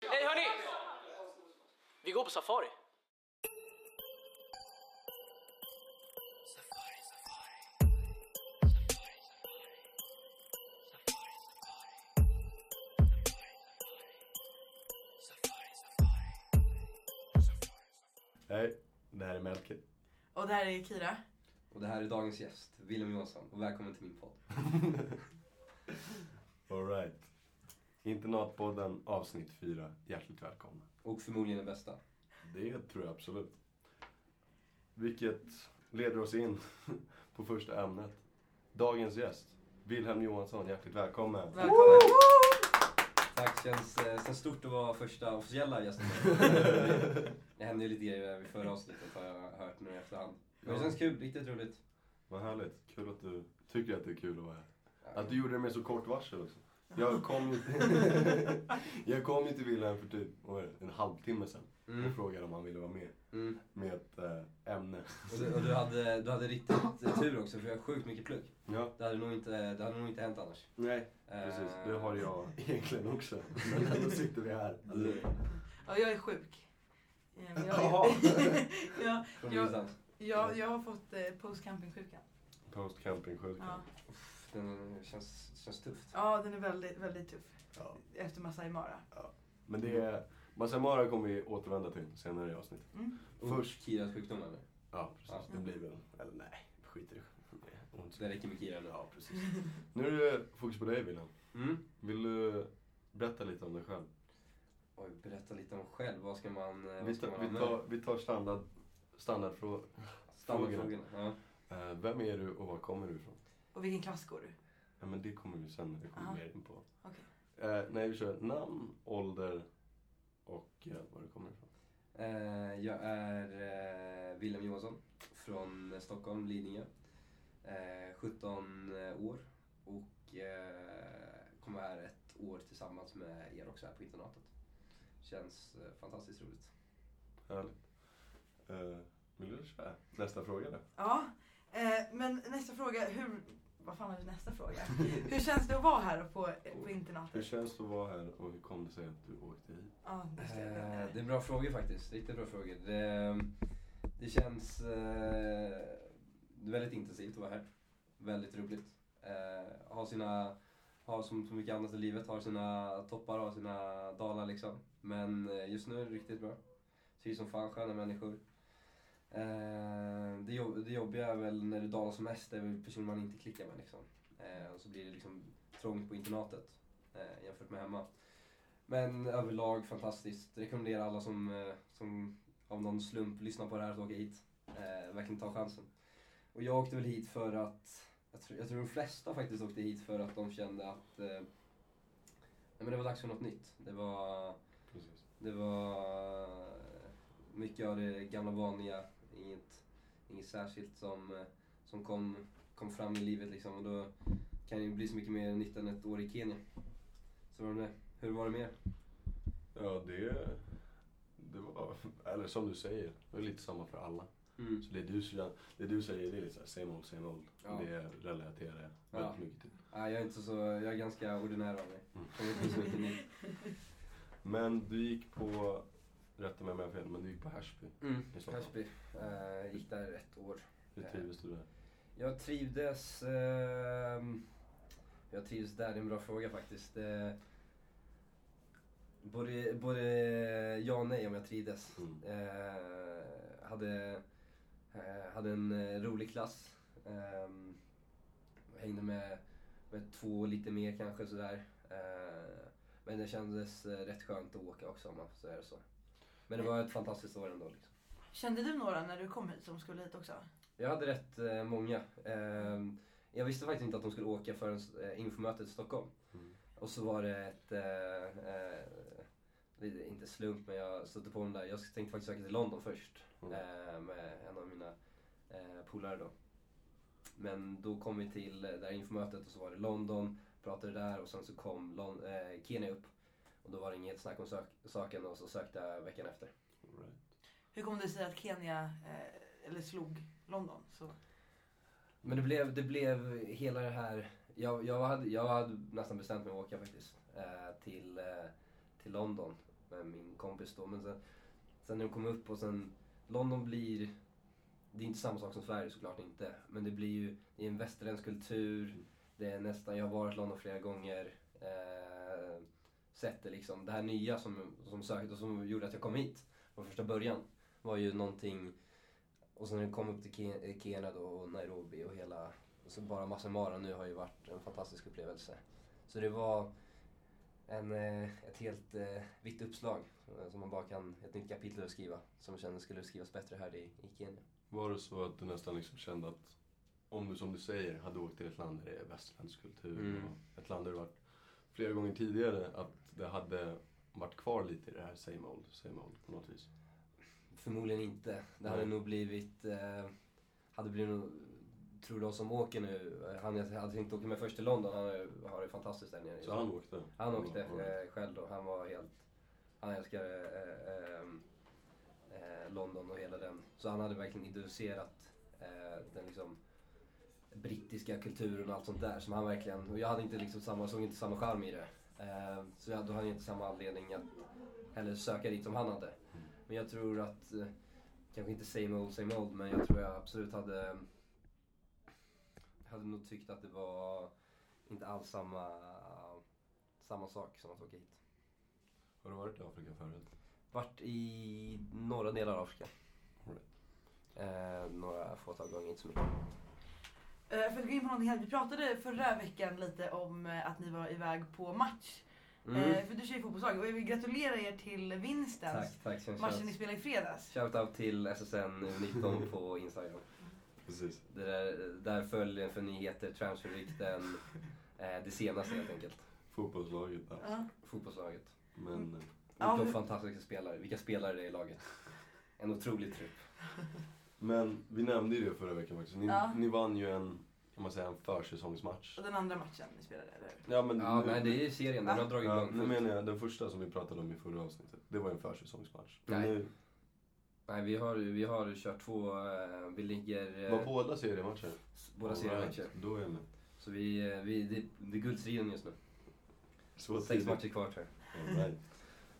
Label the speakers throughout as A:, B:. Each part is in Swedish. A: Hörni! Vi går på safari.
B: Hej, det här är Melker.
C: Och det här är Kira.
D: Och det här är dagens gäst, William Johansson. Och välkommen till min podd.
B: Alright. Internatpodden avsnitt 4. Hjärtligt välkomna.
D: Och förmodligen den bästa.
B: Det tror jag absolut. Vilket leder oss in på första ämnet. Dagens gäst, Wilhelm Johansson. Hjärtligt välkommen.
C: Välkommen.
D: Tack, känns, eh, känns stort att vara första officiella gästen. det hände ju lite grejer vid förra avsnittet har jag hört nu i efterhand. Men det känns kul, riktigt roligt.
B: Vad härligt. Kul att du tycker att det är kul att vara här. Att du gjorde det med så kort varsel också. Jag kom ju till, jag kom ju till Wilhelm för typ vad var det, en halvtimme sedan
D: Mm.
B: och frågade om han ville vara med
D: Mm.
B: med ett eh, ämne.
D: Och, du, och du, hade, du hade riktigt tur också för jag har sjukt mycket plugg.
B: Ja,
D: Det hade nog inte, det hade nog inte hänt annars.
B: nej.
D: Eh,
B: Precis, det har jag Mm. egentligen också. Men ändå sitter vi här.
C: Ja, jag är sjuk. Eh, men Jag,
B: Jaha.
C: ja, Ja.
D: Från ingenstans.
C: jag, jag har fått eh, postcamping-sjukan.
B: Post-camping-sjukan.
C: Ja.
D: Pff, Den känns, känns tufft.
C: ja, den är väldigt, väldigt tuff.
B: Ja.
C: Efter Masai Mara.
B: Men det är... Masai Mara kommer vi återvända till senare i avsnittet.
C: Mm.
D: Och
B: Först...
D: Kiras sjukdom eller?
B: Ja, precis.
D: Ja.
B: Det blir väl... Eller nej, skit i det. Det är ont.
D: Det räcker med Kira nu.
B: Ja, precis. Nu är det fokus på dig, Wilhelm.
D: Mm.
B: Vill du berätta lite om dig själv?
D: Oj, berätta lite om själv. Vad ska man... eh,
B: Vi
D: Vad ska man
B: tar,
D: ha
B: vi
D: med?
B: tar, vi tar standard, standardfrågan.
D: Standardfrågorna. Ja.
B: Eh, vem är du och var kommer du ifrån?
C: Och vilken klass går du?
B: Ja, men det kommer vi sen när vi kommer
C: Aha.
B: mer in på.
C: Okej.
B: Eh, nej, vi kör namn, ålder och eh, var du kommer ifrån.
D: Eh, jag är eh, William Johansson från Stockholm, Lidingö. Eh, 17 år och eh, kommer vara här ett år tillsammans med er också här på internatet. Känns eh, fantastiskt roligt.
B: Härligt. Eh, vill du köra nästa fråga då?
C: Ja, eh, men nästa fråga. Hur... Vad fan är det nästa fråga? Hur känns det att vara här på, eh, på
B: Hur
C: internatet?
B: känns det att vara här och hur kom det sig att du åkte hit?
C: Ja, just det.
D: Eh, det är bra frågor faktiskt. Riktigt bra frågor. Det, det känns eh, väldigt intensivt att vara här. Väldigt roligt. Eh, har sina, har som så mycket annat i livet, har sina toppar och sina dalar liksom. Men eh, just nu är det riktigt bra. Trivs som fan, sköna människor. Eh, det, jobb, det jobbiga är väl när det dalar som mest, det är väl personer man inte klickar med liksom. Eh, och så blir det liksom trångt på internatet eh, jämfört med hemma. Men överlag fantastiskt. Rekommenderar alla som, eh, som av någon slump lyssnar på det här att åka hit. Eh, verkligen ta chansen. Och jag åkte väl hit för att, jag tror, jag tror de flesta faktiskt åkte hit för att de kände att eh, nej, men det var dags för något nytt. Det var,
B: Precis.
D: det var mycket av det gamla vanliga. Inget, inget särskilt som, eh, som kom, kom fram i livet liksom. Och då kan det ju bli så mycket mer nytt än ett år i Kenya. Så var det med det. Hur var det med er?
B: Ja, det, det var... Eller som du säger, det är lite samma för alla.
D: Mm.
B: Så det du, kän- det du säger, det är lite så här, same old, same old.
D: Ja.
B: Det relaterar jag
D: Ja.
B: väldigt mycket till.
D: Nej, jag är inte så, jag är ganska ordinär av mig.
B: Mm.
D: Jag vet inte så mycket nytt.
B: Men du gick på, rätta mig om jag har fel, men du gick på Ashby. I Stockholm.
D: Hörsby. Eh, gick där ett år.
B: Hur
D: Eh,
B: trivdes du där?
D: Jag trivdes... ehm, jag trivdes där, det är en bra fråga faktiskt. Det, både, både ja och nej om jag trivdes.
B: Mm.
D: Eh, hade, eh, hade en eh, rolig klass. Ehm, hängde med, med två lite mer kanske sådär. Eh, men det kändes eh, rätt skönt att åka också om man får säga det så. Men det var ett fantastiskt år ändå. Liksom.
C: Kände du några när du kom hit som skulle hit också?
D: Jag hade rätt eh, många. Ehm, jag visste faktiskt inte att de skulle åka förrän eh, infomötet i Stockholm.
B: Mm.
D: Och så var det ett, eh, eh, det är inte slump men jag stötte på dem där. Jag tänkte faktiskt söka till London först
B: Mm.
D: eh, med en av mina eh, polare då. Men då kom vi till eh, det här infomötet och så var det London, pratade där och sen så kom Lon- eh, Kenya upp. Och då var det inget snack om sök- saken och så sökte jag veckan efter.
B: Alright.
C: Hur kom det sig att Kenya eh, eller slog London? Så.
D: Men det blev, det blev hela det här... Jag, jag, hade, jag hade nästan bestämt mig att åka faktiskt. Eh, till, eh, till London. med min kompis då. Men sen, sen när de kom upp och sen, London blir, det är inte samma sak som Sverige såklart inte. Men det blir ju, det är en västerländsk kultur. Det är nästan, jag har varit i London flera gånger. Eh, sett det liksom. Det här nya som, som sökte och som gjorde att jag kom hit från första början var ju någonting och sen när jag kom upp till Ke- eh, Kenya då och Nairobi och hela, så bara Masai Mara nu har ju varit en fantastisk upplevelse. Så det var en, eh, ett helt eh, vitt uppslag eh, som man bara kan, ett nytt kapitel att skriva som jag kände skulle skrivas bättre här i, i Kenya.
B: Var det så att du nästan liksom kände att om du som du säger hade åkt till ett land där det är västerländsk kultur
D: Mm.
B: och ett land där du varit flera gånger tidigare att det hade varit kvar lite i det här same old, same old på något vis?
D: Förmodligen inte. Det hade
B: Nej.
D: nog blivit... Eh, hade blivit nog, tror de som åker nu, eh, han jag hade tänkt åka med först till London, han har- har det fantastiskt där nere.
B: Så han åkte?
D: Han åkte
B: Ja, alright.
D: eh, själv då. Han var helt... Han älskade eh, ehm, eh, London och hela den. Så han hade verkligen idoliserat eh, den liksom brittiska kulturen och allt sånt där. Som han verkligen... Och jag hade inte liksom samma, såg inte samma charm i det. Eh, så jag, då hade jag inte samma anledning att heller söka dit som han hade. Men jag tror att... Eh, kanske inte same old, same old. Men jag tror jag absolut hade... Hade nog tyckt att det var inte alls samma samma sak som att åka hit.
B: Har du varit i Afrika förut?
D: Vart i norra delar av Afrika.
B: Alright.
D: Eh, några fåtal gånger, inte så mycket.
C: Eh, För att gå in på någonting här. Vi pratade förra veckan lite om eh, att ni var iväg på match. Eh,
D: Mm.
C: För du kör ju fotbollslag och jag vill gratulera er till vinsten.
D: Tack, tack. Känns
C: Matchen ni
D: känns.
C: spelade i fredags.
D: Shoutout till SSN 19 på Instagram.
B: Precis.
D: Det där, där följer för nyheter, transferrykten, eh, det senaste helt enkelt.
B: Fotbollslaget där.
C: Ja.
D: Fotbollslaget.
B: Men eh,
C: Ja,
D: Vilka
C: hur-
D: fantastiska spelare. Vilka spelare det är i laget. En otrolig trupp.
B: Men vi nämnde ju det förra veckan faktiskt. Ni,
C: Ja.
B: ni vann ju en, kan man säga, en försäsongsmatch.
C: Och den andra matchen ni spelade, eller hur?
B: Ja, men
D: Ja,
B: nu,
D: nej, det är serien. Den har dragit
B: Mm. ja,
D: igång
B: nu
D: fullt.
B: menar jag den första som vi pratade om i förra avsnittet. Det var ju en försäsongsmatch. Men
D: Nej.
B: Nu,
D: Nej, vi har, vi har kört två... eh, Vi ligger... eh,
B: var båda seriematcher?
D: s- Båda seriematcher.
B: Alright, Då är jag med.
D: Så vi, eh, vi det, det är guldstriden just nu.
B: Så
D: Sex
B: tidigt.
D: matcher kvar tror jag.
B: Alright.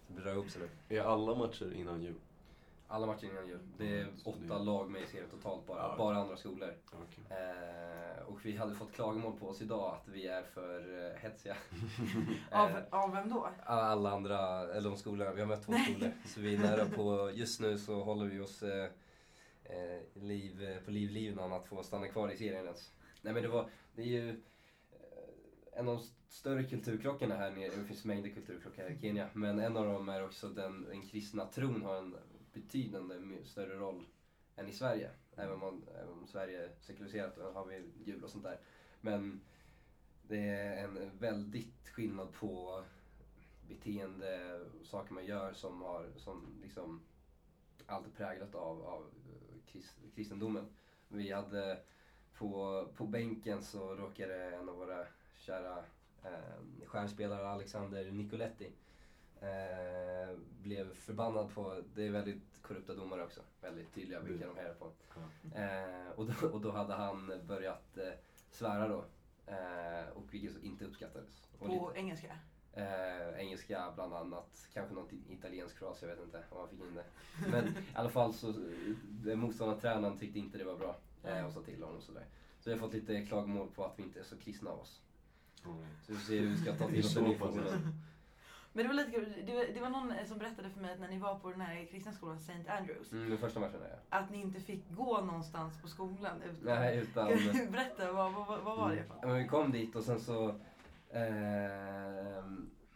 D: Så Det drar ihop sig nu.
B: Är alla matcher innan jul?
D: Alla matcher innan jul. Det är
B: Mm, så
D: åtta
B: det-
D: lag med i serien totalt bara.
B: Ja.
D: Bara andra skolor.
B: Okay.
D: Eh, och vi hade fått klagomål på oss idag att vi är för eh, hetsiga.
C: Av,
D: Eh,
C: av vem då?
D: alla andra, eller de skolorna, vi har mött två skolor. Så vi är nära på, just nu så håller vi oss eh, eh, liv, eh, på livlinan att få stanna kvar i serien ens. Nej men det var, det är ju eh, en av de st- större kulturkrockarna här nere, det finns mängder kulturkrockar här i Kenya, men en av dem är också den, den kristna tron har en betydande my- större roll än i Sverige. Även om, även om Sverige är sekulariserat och har vi jul och sånt där. Men det är en väldigt skillnad på beteende, saker man gör som har som liksom alltid präglat av, av eh, krist, kristendomen. Vi hade på, på bänken så råkade en av våra kära eh, stjärnspelare Alexander Nicoletti eh, blev förbannad på, det är väldigt korrupta domare också, väldigt tydliga vilka de hejar på. Eh, och, då, och då hade han börjat eh, svära då, eh, och vilket inte uppskattades. Och lite-
C: På engelska?
D: Eh, engelska bland annat, kanske något italiensk fras, jag vet inte om han fick in det. Men i alla fall så, eh, motståndartränaren tyckte inte det var bra eh, och sa till honom och sådär. Så vi har fått lite klagomål på att vi inte är så kristna av oss. Så vi får se hur vi ska ta till oss den informationen.
C: Men det var lite kul, det var, det var någon eh, som berättade för mig att när ni var på den här kristna skolan, St. Andrews,
D: Mm, den första matchen är jag.
C: att ni inte fick gå någonstans på skolan utan...
D: Nej, utan...
C: Berätta, vad, vad, vad var det? för
D: Ja, Men vi kom dit och sen så eh,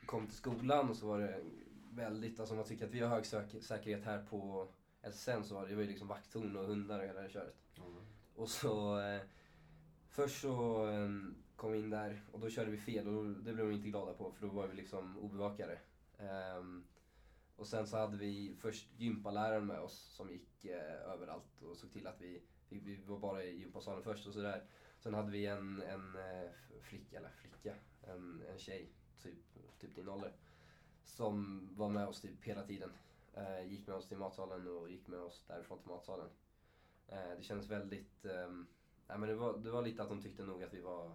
D: kom till skolan och så var det väldigt, alltså man tycker att vi har hög sök- säkerhet här på SSN så var det, det var ju liksom vakttorn och hundar och hela det köret. Och så... Eh, först så eh, kom vi in där och då körde vi fel och då, det blev de inte glada på för då var vi liksom obevakade. Ehm, och sen så hade vi först gympaläraren med oss som gick eh, överallt och såg till att vi, vi, vi var bara i gympasalen först och sådär. Sen hade vi en, en eh, flicka, eller flicka, en, en tjej, typ, typ din ålder, som var med oss typ hela tiden. Eh, gick med oss till matsalen och gick med oss därifrån till matsalen. Eh, det kändes väldigt... ehm, nej, men det, var, det var lite att de tyckte nog att vi var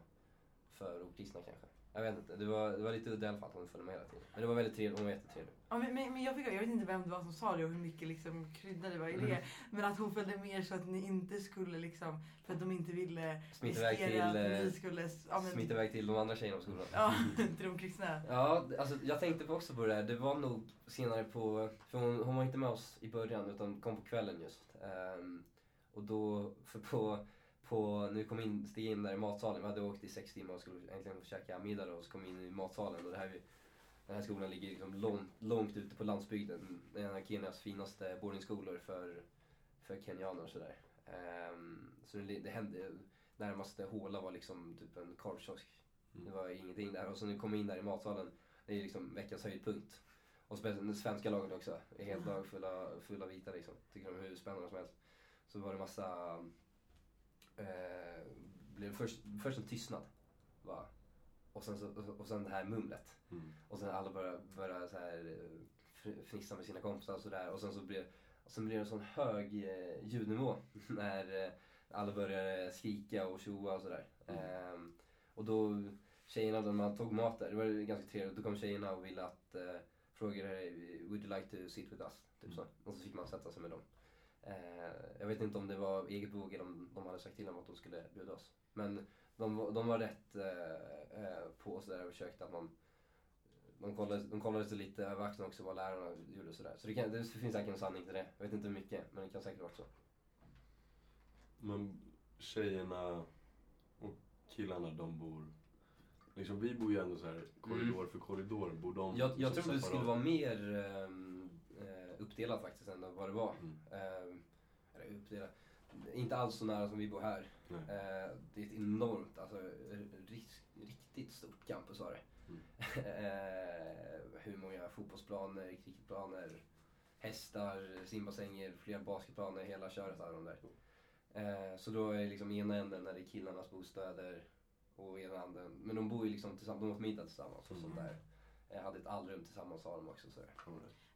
D: för okristna kanske. Jag vet inte, det var, det var lite udda i alla fall att hon följde med hela tiden. Men det var väldigt trevligt, hon var jättetrevlig.
C: Ja, men, men, men jag, fick, jag vet inte vem det var som sa det och hur mycket liksom, krydda det var i det. Men att hon följde med så att ni inte skulle liksom, för att de inte ville
D: Smit iväg till,
C: riskera att ni
D: eh,
C: skulle... Ja, men,
D: smit iväg till de andra tjejerna på skolan.
C: ja, till de kristna.
D: Ja, det- alltså jag tänkte på också på det här. Det var nog senare på, för hon, hon var inte med oss i början utan kom på kvällen just. Ehm, och då, för på, på, när vi kom in, steg in där i matsalen, vi hade åkt i sex timmar och skulle äntligen få käka middag då, och så kom vi in i matsalen och det här, vi- den här skolan ligger liksom långt, långt ute på landsbygden. Det är En av Kenyas finaste boardingskolor för, för kenyaner och sådär. Ehm, så det, det hände, närmaste håla var liksom typ en korvkiosk det var ingenting där. Och så nu kom vi in där i matsalen. Det är liksom veckans höjdpunkt. Och speciellt det svenska laget också. Är helt lag fulla, fulla vita liksom. Tycker de är hur spännande som helst. Så var det massa... Eh, blev först, först en tystnad. Va? Och, sen, så, och sen det här mumlet.
B: Mm.
D: Och sen alla började, började så här, eh, fr- fnissa med sina kompisar och sådär. Och sen så blev, och sen blev det en sån hög eh, ljudnivå när eh, alla började skrika och tjoa och sådär. Ehm, och då tjejerna, när man tog mat där, det var ju ganska trevligt. Då kom tjejerna och ville att, eh, frågade would you like to sit with us? Typ så. Och så fick man sätta sig med dem. Eh, jag vet inte om det var eget bevåg eller om de hade sagt till dem att de skulle bjuda oss. Men de, var- de var rätt eh, eh, på oss där och försökte att man de kollade, de kollade sig lite över axeln också vad lärarna gjorde och sådär. Så det, kan, det finns säkert en sanning till det. Jag vet inte hur mycket, men det kan säkert vara så.
B: Men tjejerna och killarna de bor... Liksom vi bor ju ändå så här korridor för korridor. Bor de
D: Mm. Jag, jag
B: liksom
D: trodde det
B: separat?
D: skulle vara mer ehm, eh, uppdelat faktiskt än vad det var.
B: Mm.
D: Ehm, eller uppdelat. Inte alls så nära som vi bor här.
B: Nej.
D: Eh, det är ett enormt, alltså r- risk, riktigt stort campus har det.
B: Mm.
D: eh, hur många fotbollsplaner, cricketplaner, hästar, simbassänger, flera basketplaner, hela köret har de där. Eh, så då är liksom ena änden när det är killarnas bostäder och ena änden, men de bor ju liksom tillsammans, de åt middag tillsammans och sånt där. Eh, hade ett allrum tillsammans har de också. Så.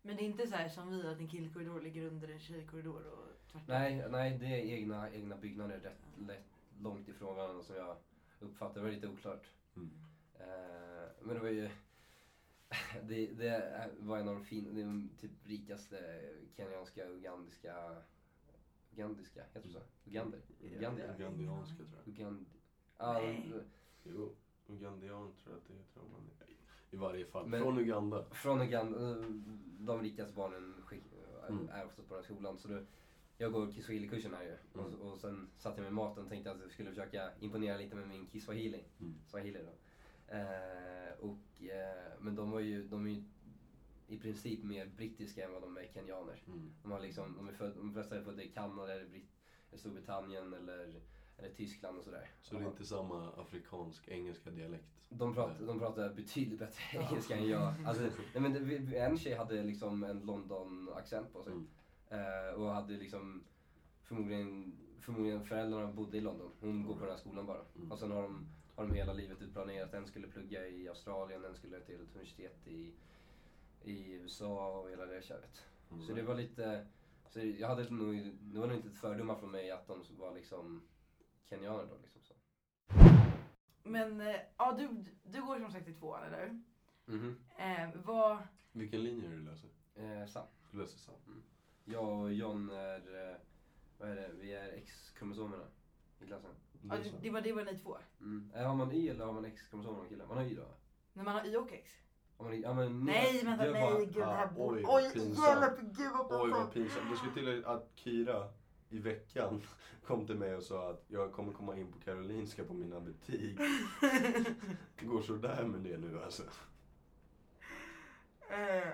C: Men det är inte så här som vi, att en killkorridor ligger under en tjejkorridor och tvärtom.
D: Nej, nej, det är egna, egna byggnader rätt, lätt, långt ifrån varandra som jag uppfattar. Det var lite oklart.
B: Mm.
D: Eh, men det var ju... Det, det var en av de, fin, de typ rikaste kenyanska, ugandiska... Ugandiska? Heter det
B: Mm.
D: så? Ugander? Ugander?
B: Ugandianska tror jag.
D: Ugand... Ah,
C: Nej.
B: Jo, ugandian tror jag att det heter. om man är. I varje fall.
D: Men-
B: Från Uganda.
D: från Uganda. eh, De rikaste barnen skick,
B: Mm.
D: är oftast på den här skolan. Så då, jag går kiswahili-kursen här ju.
B: Mm.
D: Och, och sen satte jag mig med maten och tänkte att jag skulle försöka imponera lite med min kiswahili.
B: Mm.
D: swahili då. Eh, och, eh, men de, var ju, de är ju i princip mer brittiska än vad de är kenyaner.
B: Mm.
D: De, har liksom, de, är född, de flesta är födda i Kanada, eller Brit- eller Storbritannien eller, eller Tyskland och sådär.
B: Så det är inte samma afrikansk-engelska dialekt.
D: De pratar, de pratar betydligt bättre engelska än jag. Alltså, nej, men det, vi- vi- en tjej hade liksom en London-accent på sig.
B: Mm.
D: Eh, och hade liksom förmodligen, förmodligen föräldrarna bodde i London. Hon går på den här skolan bara.
B: Mm.
D: Och sen har de, har de hela livet utplanerat. En skulle plugga i Australien, en skulle till ett universitet i, i USA och hela det köret.
B: Mm.
D: Så det var lite, så jag hade nog, det var nog inte ett fördomar från mig att de var liksom kenyaner då liksom. Så.
C: Men eh, ja, du, du går som sagt i tvåan, eller hur?
D: Mhm.
C: Eh, vad...
B: Vilken linje är det du läser?
D: Eh, sant.
B: Du läser sam.
D: Jag och John är, eh, vad är det, vi är X-kromosomerna i klassen.
C: Ja, det, det var det var ni två.
D: Mm. Eh, Har man Y eller har man X-kromosomer om killar? Man har Y då va?
C: När man har Y och X.
D: Har man, y, ja, men,
C: Nej, vänta,
D: jag
C: nej,
D: bara-
C: gud det här
B: ah,
C: borde...
B: oj,
C: Oj,
B: pinsamt.
C: hjälp, gud vad
B: Oj vad
C: pinsamt.
B: pinsamt. Det skulle till att Kira i veckan kom till mig och sa att jag kommer komma in på Karolinska på mina betyg. Det går sådär med det nu alltså.
C: Eh,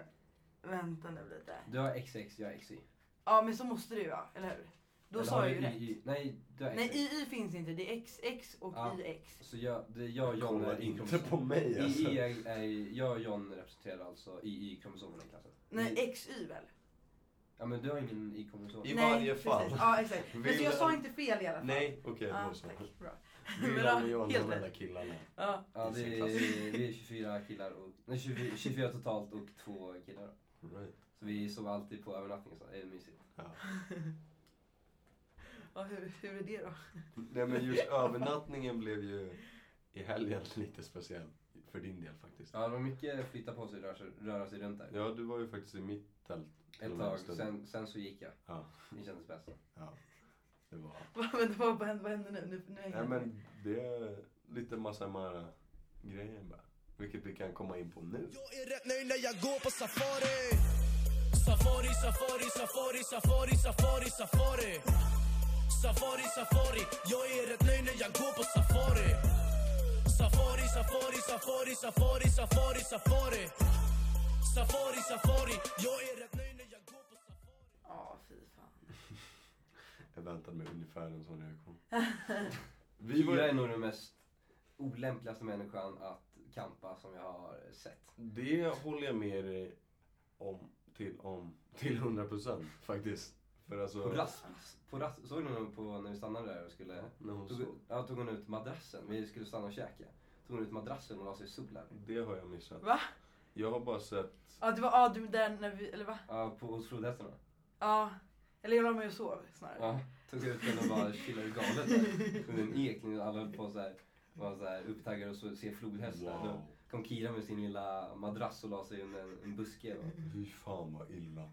C: vänta nu lite.
D: Du har XX, jag har XY.
C: Ja, men så måste det ju vara, eller hur? Då
D: Eller har
C: sa jag ju
D: du
C: rätt.
D: Y, y. Nej, du har
C: Nej,
D: XX.
C: II finns inte. Det är XX och
D: Ja.
C: IX.
D: Så jag, det, jag och John
B: Kolla
D: är
B: inte på mig alltså.
D: I, är, är, jag och John representerar alltså Y-kromosomerna i klassen.
C: Nej, XY väl?
D: Ja men du har ingen Y-kromosom.
B: I
C: Nej,
B: varje fall.
C: Precis. Ja, exakt. Men så
B: Vill
C: jag sa
B: han-
C: inte fel i alla fall.
B: Nej, okej
C: Ja,
B: då så.
C: Ah, tack. Bra. Men
B: Willan och
C: då,
B: John, de
C: helt
B: enda
C: rätt.
B: killarna.
C: Ja.
D: Ja,
B: I
D: det
B: sin
D: är,
B: klass.
D: vi är 24 killar och, nej, 24, 24 totalt och två killar.
B: Right.
D: Så vi sov alltid på övernattning så det är mysigt.
B: Ja.
C: ja hur, hur är det då?
B: Nej men just övernattningen blev ju i helgen lite speciell. För din del faktiskt.
D: Ja, det var mycket flytta på sig, röra sig, röra sig runt där.
B: Ja, du var ju faktiskt i mitt tält.
D: Ett tag, sen, sen så gick jag.
B: Ja,
D: Det kändes bäst.
B: ja. Det var...
C: Men vad, vad händer, vad händer nu? nu, nu hänger
B: Nej
C: jag med.
D: Ehm.
B: men det är lite massa mara grejer bara. Vilket vi kan komma in på nu.
E: Jag är rätt nöjd när jag går på safari Safari, safari, safari, safari, safari, safari Safari, safari Jag är rätt nöjd när jag går på safari Safari, safari, safari, safari, safari, safari Safari, safari Jag är rätt nöjd när jag går på safari
C: Ja, fy fan.
B: Jag väntade mig ungefär en sån reaktion.
D: Vi
B: Vi var,
D: Jag är nog den mest olämpligaste människan att campa som jag har sett.
B: det håller jag med dig om till, om, till 100 procent faktiskt. För
D: På
B: alltså...
D: rast, på rast, såg ni nog på när vi stannade där och skulle...
B: När hon
D: Tog,
B: sov.
D: ja, tog hon ut madrassen. Vi skulle stanna och käka. Tog hon ut madrassen och la sig i solen.
B: Det har jag missat.
C: Va?
B: Jag har bara sett...
C: Ja, det var ja, du där när vi, eller va?
D: Ja, på, hos flodhästarna.
C: Ja. Eller jag la mig och sov snarare.
D: Ja, tog ut den och bara chillade galet där. Under en ek. när Alla höll på så här, var så här upptaggade och så, se flodhästar.
B: Wow.
D: kom Kira med sin lilla madrass och la sig under en, en buske. Och,
B: Fy fan vad illa.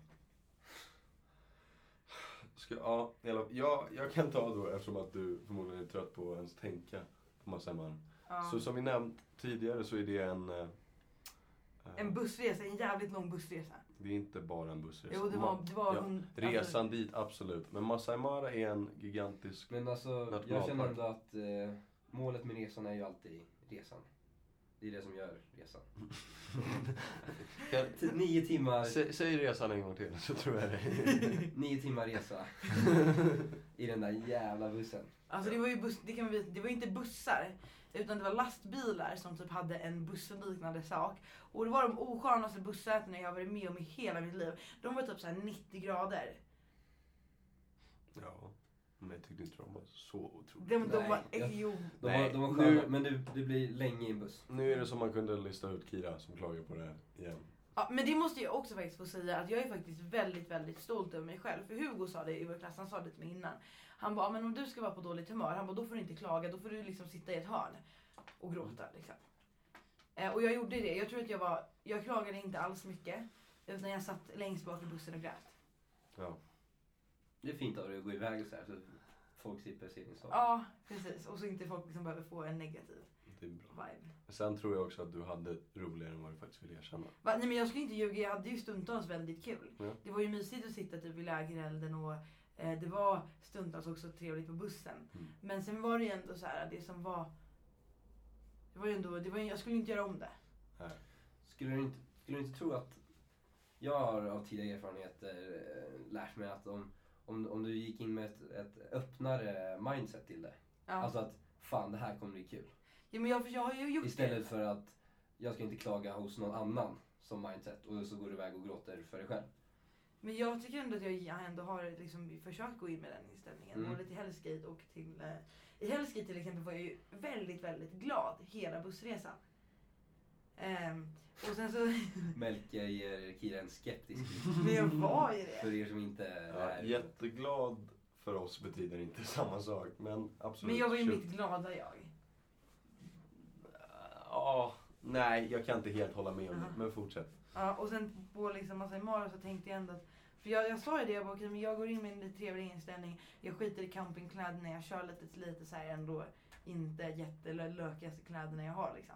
B: Ska, ja, i alla- jag, jag kan ta då eftersom att du förmodligen är trött på att ens tänka på massa man.
C: Ja.
B: Så som vi nämnt tidigare så är det en... eh,
C: En bussresa, en jävligt lång bussresa.
B: Det är inte bara en bussresa.
C: Jo, det var...
B: Ma-
C: Det var
B: typ. ja,
C: hon, alltså,
B: Resan dit, absolut. Men Masai Mara är en gigantisk...
D: men alltså, jag
B: Nationalpark.
D: känner ändå att eh, målet med resan är ju alltid resan. Det är det som gör resan.
B: Kan-
D: T- nio timmar,
B: Sä, säg resan en gång till så tror jag det.
D: nio timmar resa. I den där jävla bussen.
C: Alltså det var ju buss, det kan vi, det var inte bussar utan det var lastbilar som typ hade en bussliknande sak. Och det var de oskönaste bussätena jag har varit med om i hela mitt liv. De var typ såhär 90 grader.
B: ja. Men jag tyckte inte de var så otroligt.
C: De, de
D: Nej,
C: var,
D: jag-
C: jo,
D: De
B: Nej,
D: var, de var
B: nu-
D: sköna, men det, det blir länge i en buss.
B: Nu är det som man kunde lista ut Kira som klagar på det här igen.
C: Ja, men det måste jag också faktiskt få säga att jag är faktiskt väldigt, väldigt stolt över mig själv. För Hugo sa det i vår klass, han sa det till mig innan. Han bara, men om du ska vara på dåligt humör, han bara, då får du inte klaga, då får du liksom sitta i ett hörn och gråta liksom. Eh, och jag gjorde det. Jag tror att jag var, jag klagade inte alls mycket. Utan jag satt längst bak i bussen och grät.
B: Ja.
D: Det är fint av dig att gå iväg så här så folk slipper se din sak.
C: Ja, precis. Och så inte folk liksom behöver få en negativ
B: Det är bra.
C: vibe.
B: Sen tror jag också att du hade roligare än vad du faktiskt vill erkänna.
C: Va? Nej men jag skulle inte ljuga, jag hade ju stundtals väldigt kul.
B: Ja.
C: Det var ju mysigt att sitta typ i lägerelden och eh, det var stundtals också trevligt på bussen.
B: Mm.
C: Men sen var det ju ändå så här, det som var... Det var ju ändå, det var, ju- jag skulle inte göra om det.
D: Skulle du, inte, skulle du inte tro att jag har av tidigare erfarenheter eh, lärt mig att om, om, om du gick in med ett, ett öppnare mindset till det.
C: Ja.
D: Alltså att fan det här kommer bli kul.
C: ja men jag, jag har ju gjort
D: Istället för att jag ska inte klaga hos någon annan som mindset och så går du iväg och gråter för dig själv.
C: det. Men jag tycker ändå att jag jag ändå har liksom försökt gå in med den inställningen.
D: Mm.
C: Både till Hellsgate och till... Eh, I Hellsgate till exempel var jag ju väldigt, väldigt glad hela bussresan. Ehm, och sen så...
D: Melker ger Kira en skeptisk
C: men jag var ju det.
D: för er som inte är...
B: Ja, jätteglad för oss betyder inte samma sak, men absolut.
C: Men jag var ju
B: Kör-
C: mitt glada jag.
B: Ja, nej jag kan inte helt hålla med om det,
C: Aha.
B: men fortsätt.
C: Ja, och sen på liksom Masai Mara så tänkte jag ändå att... För jag, jag sa ju det, jag bara, okej, men jag går in med en lite trevlig inställning. Jag skiter i campingkläderna, jag kör lite, lite så här ändå inte jättelökigaste kläderna jag har liksom.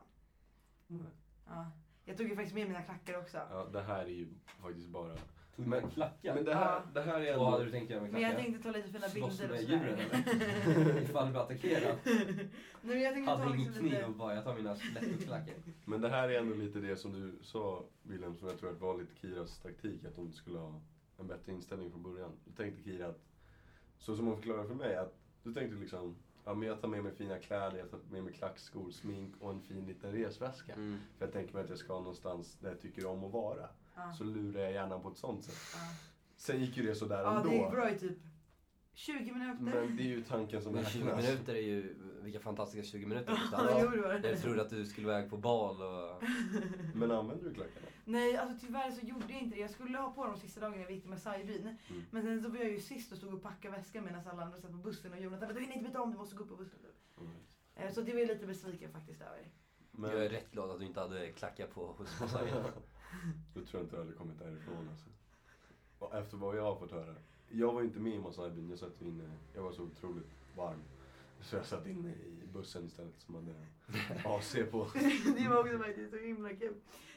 B: Mm.
C: Ja. Jag tog ju faktiskt med mina klackar också.
B: Ja, det här är ju faktiskt bara...
D: Tog med klackar?
B: Men det här, det här är
D: Vad
B: ändå...
D: hade du tänkt göra med
C: Men jag
D: klackar?
C: tänkte ta lite fina
D: Slåss
C: bilder och
D: med
C: sådär.
D: djuren eller? Ifall du blir attackerad?
C: Nej men jag tänkte ta
D: Hade ingen
C: liksom
D: kniv och
C: lite...
D: bara jag tar mina stilettklackar.
B: Men det här är ändå lite det som du sa Wilhelm, som jag tror att var lite Kiras taktik, att hon skulle ha en bättre inställning från början. Då tänkte Kira att, så som hon förklarade för mig, att du tänkte liksom, ja men jag tar med mig fina kläder, jag tar med mig klackskor, smink och en fin liten resväska.
D: Mm.
B: För jag tänker mig att jag ska någonstans där jag tycker om att vara.
C: Ja,
B: Så lurar jag hjärnan på ett sånt sätt.
C: ja.
B: Sen gick ju det sådär
C: ja,
B: ändå.
C: det gick bra i typ 20 minuter.
B: Men det är ju tanken som
D: Men 20
B: räknas.
D: minuter är ju, vilka fantastiska 20 minuter
C: Ja,
D: du
C: jo,
D: stannade
C: det var
D: Jag
C: det.
D: trodde att du skulle iväg på bal och...
B: Men använder du klackarna?
C: Nej, alltså tyvärr så gjorde jag inte det. Jag skulle ha på dem sista dagen jag gick med Saibyn.
B: Mm.
C: Men sen så var jag ju sist och stod och packade väskan medan alla andra satt på bussen och Jonathan bara du hinner inte byta om, du måste gå upp på bussen. Eh, Så det var jag lite besviken faktiskt över.
B: Men
D: Jag är rätt glad att du inte hade klackar på hos Volkswagen.
B: då tror jag inte jag hade kommit därifrån alltså. Och efter vad jag har fått höra. Jag var ju inte med i Masai-byn, jag satt inne. Jag var så otroligt varm. Så jag satt inne i bussen istället som hade AC på.
C: det var också faktiskt så himla kul.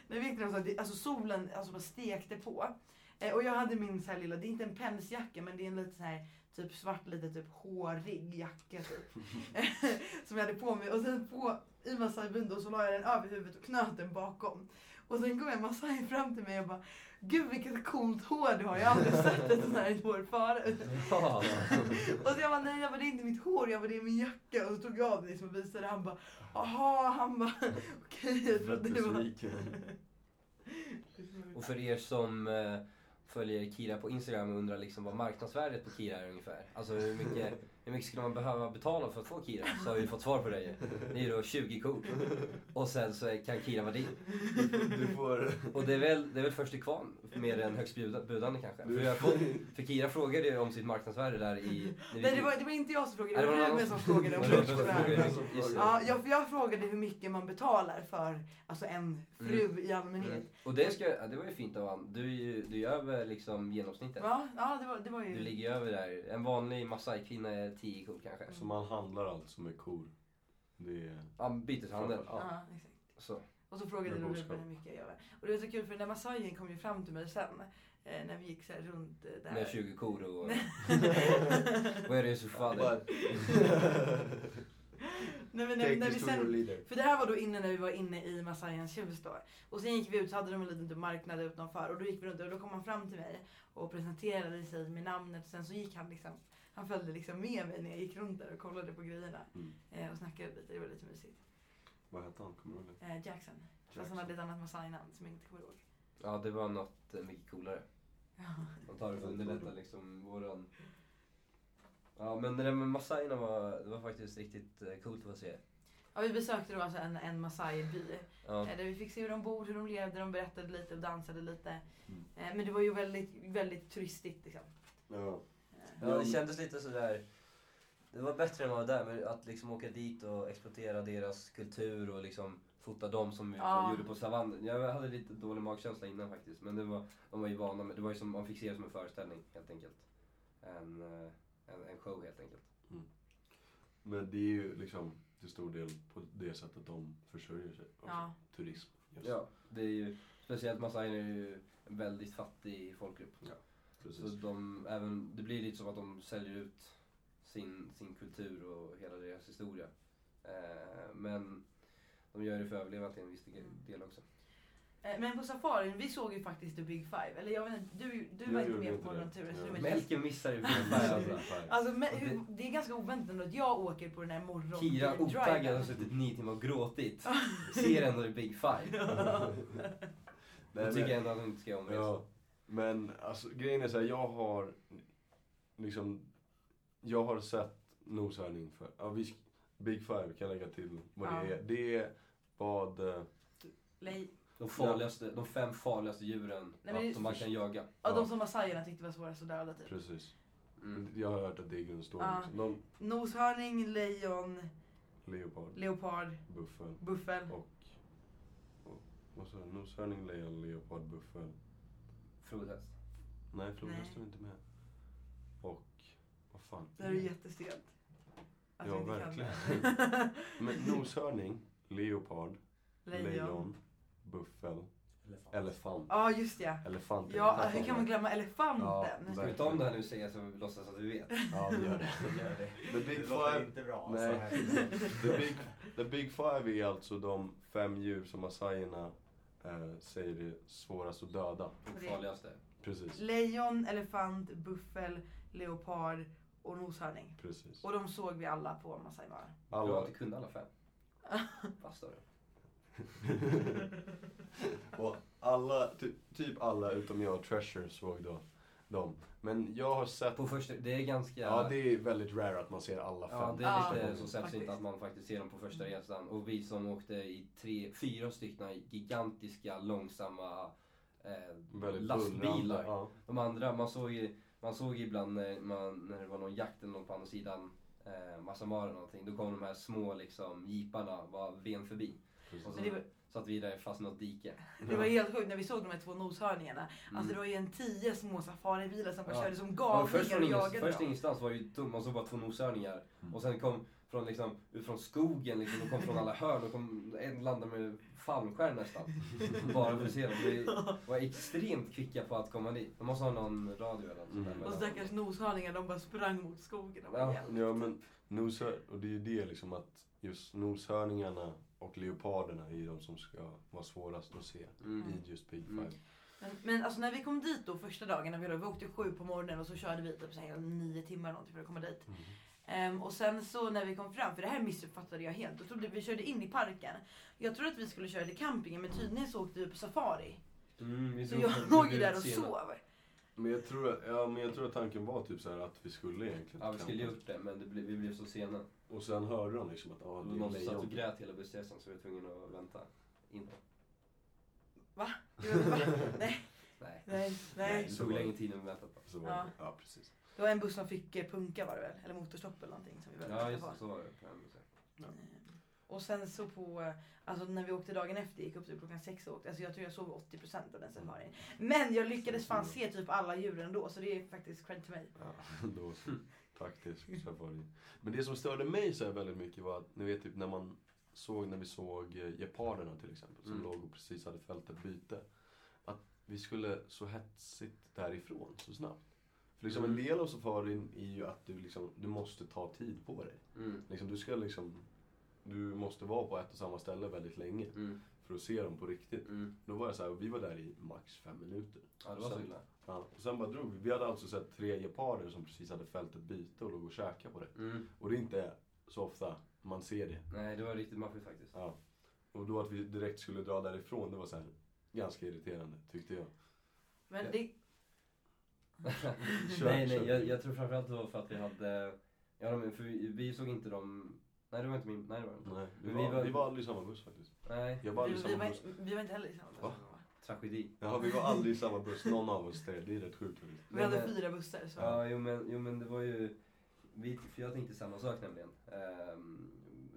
C: När vi gick till dem så att det, alltså solen alltså bara stekte på. Eh, och jag hade min så här lilla, det är inte en pälsjacka men det är en lite så här typ svart lite typ hårig jacka typ. som jag hade på mig. Och sen på, i Masaibyn då så la jag den över huvudet och knöt den bakom. Och sen kom en Masai fram till mig och bara Gud vilket coolt hår du har, jag har aldrig sett ett sånt här hår förut.
D: Ja.
C: Och så jag bara nej jag bara, det är inte mitt hår, jag bara, det är min jacka. Och så tog jag av den liksom och visade. Han bara aha, han bara okej jag
B: Fett
C: trodde det var...
B: besviken.
D: Och för er som eh, följer Kira på Instagram och undrar liksom vad marknadsvärdet på Kira är ungefär. Alltså hur mycket, hur mycket skulle man behöva betala för att få Kira? Så har vi fått svar på det ju. Det är ju då 20 kort. Och sen så är- kan Kira vara din.
B: Du får- Du får...
D: Och det är väl, det är väl först till kvarn mer än högst bjuda- budande kanske. För, jag, får- för Kira frågade ju om sitt marknadsvärde där i... när vi-
C: Nej det var, det var inte jag som
D: Nej,
C: frågade,
D: det
C: det
D: var någon
C: var Ruben som frågade
D: annan.
C: om
D: Var det
B: Ruben
D: som
C: marknadsvärde.
B: Som
D: frågade? Just det.
C: Ja, jag, jag frågade hur mycket man betalar för alltså en fru i allmänhet.
D: Mm. Och det, ska, ja, det var ju fint av han. Du är ju du är ju över liksom genomsnittet.
C: Va? Ja, det var, det var
D: Du
C: ju...
D: ligger över där. En vanlig Masai-kvinna är 10 kort kanske.
B: Så man handlar alltså med kor. Det är...
D: Ja, byteshandel.
B: Ja.
C: Ja, exakt.
D: Så.
C: Och så frågade
B: Med
C: då
B: boskap.
C: Ruben hur mycket jag gör. Och det var så kul för den där massajen kom ju fram till mig sen. Eh, när vi gick så här runt eh, där.
D: Med 20 kor och... Vad är det Yusuf Fader?
C: Nej, men när,
B: Take
C: när vi
B: this to your
C: sen
B: leader.
C: För det här var då innan när vi var inne i Masajens hus då. Och sen gick vi ut så hade de en liten typ marknad utanför och då gick vi runt och då kom han fram till mig och presenterade sig med namnet och sen så gick han liksom han följde liksom med mig när jag gick runt där och kollade på grejerna
B: Mm.
C: eh, och snackade lite. Det var lite mysigt.
B: Vad hette han? Kommer du ihåg det?
C: Eh, Jackson. Fast han hade ett annat Masai-namn som jag inte kommer ihåg.
D: Ja, det var något eh, mycket coolare.
C: Ja.
D: De tar det för att underlätta liksom våran... Ja, men det där med Masaierna var, det var faktiskt riktigt eh, coolt att se.
C: Ja, vi besökte då alltså en, en Masai-by
D: Ja.
C: eh, där vi fick se hur de bor, hur de levde, de berättade lite och dansade lite.
B: Mm.
C: Eh, men det var ju väldigt, väldigt turistigt liksom.
B: Ja.
D: ja, det kändes lite sådär... Det var bättre än vad det var där, men att liksom åka dit och exploatera deras kultur och liksom fota dem som vi
C: Ja.
D: gjorde på savannen. Jag hade lite dålig magkänsla innan faktiskt, men det var, de var ju vana med, det var ju som, man fick se det som en föreställning helt enkelt. En, eh, en, en show helt enkelt.
B: Men det är ju liksom till stor del på det sättet de försörjer sig. Alltså,
C: Ja.
B: Turism. Just.
D: Ja, det är ju, speciellt massain är ju en väldigt fattig folkgrupp. Så
B: Precis.
D: de, även, det blir lite som att de säljer ut sin, sin kultur och hela deras historia. Eh, men de gör det för att överleva till en viss
C: Mm.
D: del också.
C: Eh, Men på safarin, vi såg ju faktiskt The Big Five. Eller jag vet inte, du, du
B: Jag
C: var inte
B: gjorde
C: med
B: inte
C: på
B: det.
C: den turen. så
B: Ja.
C: du vet inte.
D: Melker missar ju
B: Det är sant,
D: alltså.
B: affär.
C: Alltså, men,
D: Och det-
C: hur, det är ganska oväntat ändå att jag åker på den här morgon
D: Kira
C: driven.
D: otaggad har suttit nio timmar och gråtit. Ser ändå the big five.
B: Nej,
D: Då
B: men-
D: tycker jag ändå att hon inte ska göra om resan.
B: Ja. Men alltså grejen är så här, jag har liksom, jag har sett noshörning för, ja vi, sk- Big Five kan jag lägga till vad det
C: Ja.
B: är. Det är vad, eh,
C: Nej,
D: De, farligaste, de fem farligaste djuren
C: Nej, men det-
D: som man kan jaga.
C: ja,
B: Ja.
C: de som massajerna tyckte var svårast att döda typ.
B: precis.
D: Mm.
B: Jag har hört att det är grundstoryn
C: Ja.
B: liksom. De,
C: Noshörning, lejon,
B: leopard,
C: leopard,
B: buffel
C: buffel.
B: och, och vad sa du? Noshörning, lejon, leopard, buffel.
D: Flodhäst.
B: Nej, flodhästen
C: Nej.
B: är inte med. Och, vad fan.
C: Det här är ju jättestelt. Att
B: Ja,
C: vi inte kan
B: verkligen.
C: det.
B: Men noshörning, leopard, lejon,
C: lejon.
B: buffel, elefant.
C: Ja, just ja.
B: Elefant.
C: Ja, alltså, hur kan man glömma elefanten?
B: Ja,
D: Ska vi ta om det här nu och säga så vi låtsas att vi vet?
B: Ja, vi gör det. The
F: Det
B: Big
F: låter
B: Five,
F: inte bra.
B: Nej.
F: alltså.
B: the big, the big five är alltså de fem djur som massajerna eh, säger är svårast att döda.
D: De farligaste.
B: Precis,
C: Lejon, elefant, buffel, leopard och noshörning.
B: precis.
C: Och de såg vi alla på Masai Mara.
D: Du har
B: Alla.
D: inte kunnat alla fem. Fast då.
B: Och alla, ty, typ alla utom jag och Treasure såg då dem. Men jag har sett,
D: På första, det är ganska...
B: ja det är väldigt rare att man ser alla fem.
D: ja, det är lite
B: Ja,
D: så sällsynt
C: faktiskt.
D: att man faktiskt ser dem på första
C: Mm.
D: resan. Och vi som åkte i tre, fyra stycken gigantiska, långsamma eh,
B: Väldigt bullrande,
D: lastbilar.
B: Ja.
D: De andra, man såg ju, man såg ju ibland när, man, när det var någon jakt eller någon på andra sidan eh, Massamara eller någonting. Då kom de här små liksom jeeparna, bara ven förbi.
B: Precis.
D: Och
C: Men det var,
D: Så att vi där fast i något dike.
C: det var helt sjukt när vi såg de här två noshörningarna. Alltså det var ju en tio små safaribilar som bara
D: Mm. Ja.
C: körde som
D: Ja,
C: galningar
D: först från,
C: och
D: ingen,
C: jagade
D: först
C: dem.
D: ingenstans var det ju tum och så bara två noshörningar.
B: Mm.
D: Och sen kom från, liksom, ut från skogen, liksom, de kom från alla hörn och kom, en landade med fallskärm nästan. Bara för att se dem. De var extremt kvicka på att komma dit. De måste ha någon radio eller något sånt
B: Mm.
D: där
C: Och
D: mellan.
C: stackars noshörningar de bara sprang mot skogen. Och
D: Ja.
C: bara, hjälp.
B: Ja men noshör, och det är ju det liksom att just noshörningarna och leoparderna är ju de som ska vara svårast att se
D: Mm.
B: i just Big Five.
D: Mm.
C: Men, men alltså när vi kom dit då första dagen, när vi, vi åkte sju på morgonen och så körde vi typ så här nio timmar eller någonting för att komma dit.
B: Mm.
C: Ehm, och sen så när vi kom fram, för det här missuppfattade jag helt. Då trodde vi körde in i parken. Jag trodde att vi skulle köra till campingen men tydligen så åkte vi på safari.
D: Mm, vi
C: Så
D: såg
C: jag
D: att
C: låg
D: vi
C: ju
D: blev
C: där och
D: sena.
C: sov.
B: Men, jag tror att, ja, men jag tror att tanken var typ så här att vi skulle egentligen
D: Ja, vi skulle
B: campa.
D: gjort det men det blev, vi blev så sena.
B: Och sen hörde de liksom att ah,
D: Och
B: det är
D: någon som satt och
B: lejon.
D: grät hela bussresan så vi var tvungna att vänta. In.
C: Det var- va? nej,
D: Nej.
C: nej,
D: Det
C: nej.
D: tog längre tid än vi väntat på.
B: Så var
C: Ja.
B: det. Ja precis.
C: Det var en buss som fick eh, punka var det väl? Eller motorstopp eller någonting som vi behövde
D: Ja
C: sätta
D: just
C: på.
D: det, så var det. på den bussen.
B: Ja.
C: Ehm, Och sen så på, eh, alltså när vi åkte dagen efter, gick upp till klockan sex och åkte. Alltså jag tror jag sov 80%
B: Mm.
C: av den safarin. Men jag lyckades fan se typ alla djuren ändå så det är faktiskt cred till mig.
B: Ja, då så. Taktisk safari. Men det som störde mig så här väldigt mycket var att ni vet typ när man såg när vi såg eh, geparderna till exempel som
D: Mm.
B: låg och precis hade fällt ett byte. Att vi skulle så hetsigt därifrån så snabbt. För liksom en
D: Mm.
B: del av safarin är ju att du liksom, du måste ta tid på dig.
D: Mm.
B: Liksom, du ska liksom, du måste vara på ett och samma ställe väldigt länge
D: Mm.
B: för att se dem på riktigt.
D: Mm.
B: Då var det så här, vi var där i max fem minuter.
D: Ja det var så illa.
B: Ja, och sen bara drog vi. Vi hade alltså sett tre geparder som precis hade fällt ett byte och låg och käkade på det.
D: Mm.
B: Och det är inte så ofta man ser det.
D: Nej det var riktigt maffigt faktiskt.
B: Ja. Och då att vi direkt skulle dra därifrån, det var så här ganska irriterande tyckte jag.
C: Men det,
B: Kör,
D: nej, nej,
B: kör.
D: jag, jag tror framförallt det var för att vi hade... Ja, de, för vi, vi såg inte dem... Nej, det var inte min... Nej, det var inte.
B: Nej, vi
D: Men vi
B: var,
D: var-
B: vi var aldrig i samma buss faktiskt.
D: Nej,
B: Jag var
C: vi,
B: aldrig i
C: vi,
B: samma
C: var,
B: buss.
C: vi var inte heller i samma buss.
B: Va?
D: tragedi.
B: Ja, vi var aldrig i samma buss, någon av oss tre. Det är rätt sjukt faktiskt.
C: Vi hade
D: Men, eh,
C: fyra bussar. Så.
D: Ja, jo men, jo, men det var ju... Vi, för jag tänkte samma sak nämligen. Ehm,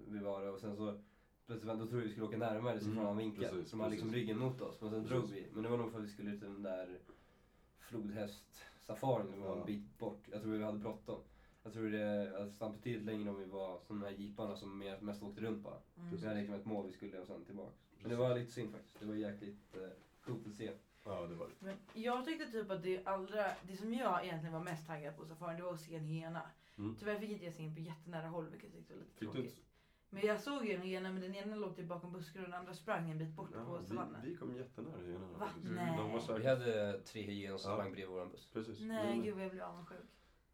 D: vi var där och sen så... Plötsligt vände- då trodde vi vi skulle åka närmare så
B: Mm,
D: från en annan vinkel.
B: precis,
D: så de hade liksom
B: precis.
D: ryggen mot oss. Men sen
B: Precis.
D: drog vi. Men det var nog för att vi skulle ut till den där flodhästsafarin som var
B: Ja.
D: en bit bort. Jag tror vi hade bråttom. Jag tror det hade stannat betydligt längre om vi var som de här jeeparna som mer- mest åkte runt bara.
C: Mm.
D: Vi hade liksom ett mål vi skulle och sen tillbaka. Men det var lite synd faktiskt. Det var jäkligt eh, coolt att se.
B: Ja, det var det.
C: Men jag tyckte typ att det allra, det som jag egentligen var mest taggad på safarin det var att se en hyena.
B: Mm.
C: Tyvärr fick inte jag se en på jättenära håll vilket jag tyckte var lite
B: Fick du
C: tråkigt.
B: inte?
C: Men jag såg ju en hyena men den ena låg typ bakom busken och den andra sprang en bit bort på
B: Ja,
C: savannen.
B: vi, vi kom jättenära hyenorna.
C: Va?
B: faktiskt.
C: Nej.
B: De var så
D: Vi
B: här,
D: hade tre hyener som
B: Ja.
D: sprang bredvid vår buss.
B: precis.
C: Nej
B: Mm.
C: gud vad jag blev avundsjuk.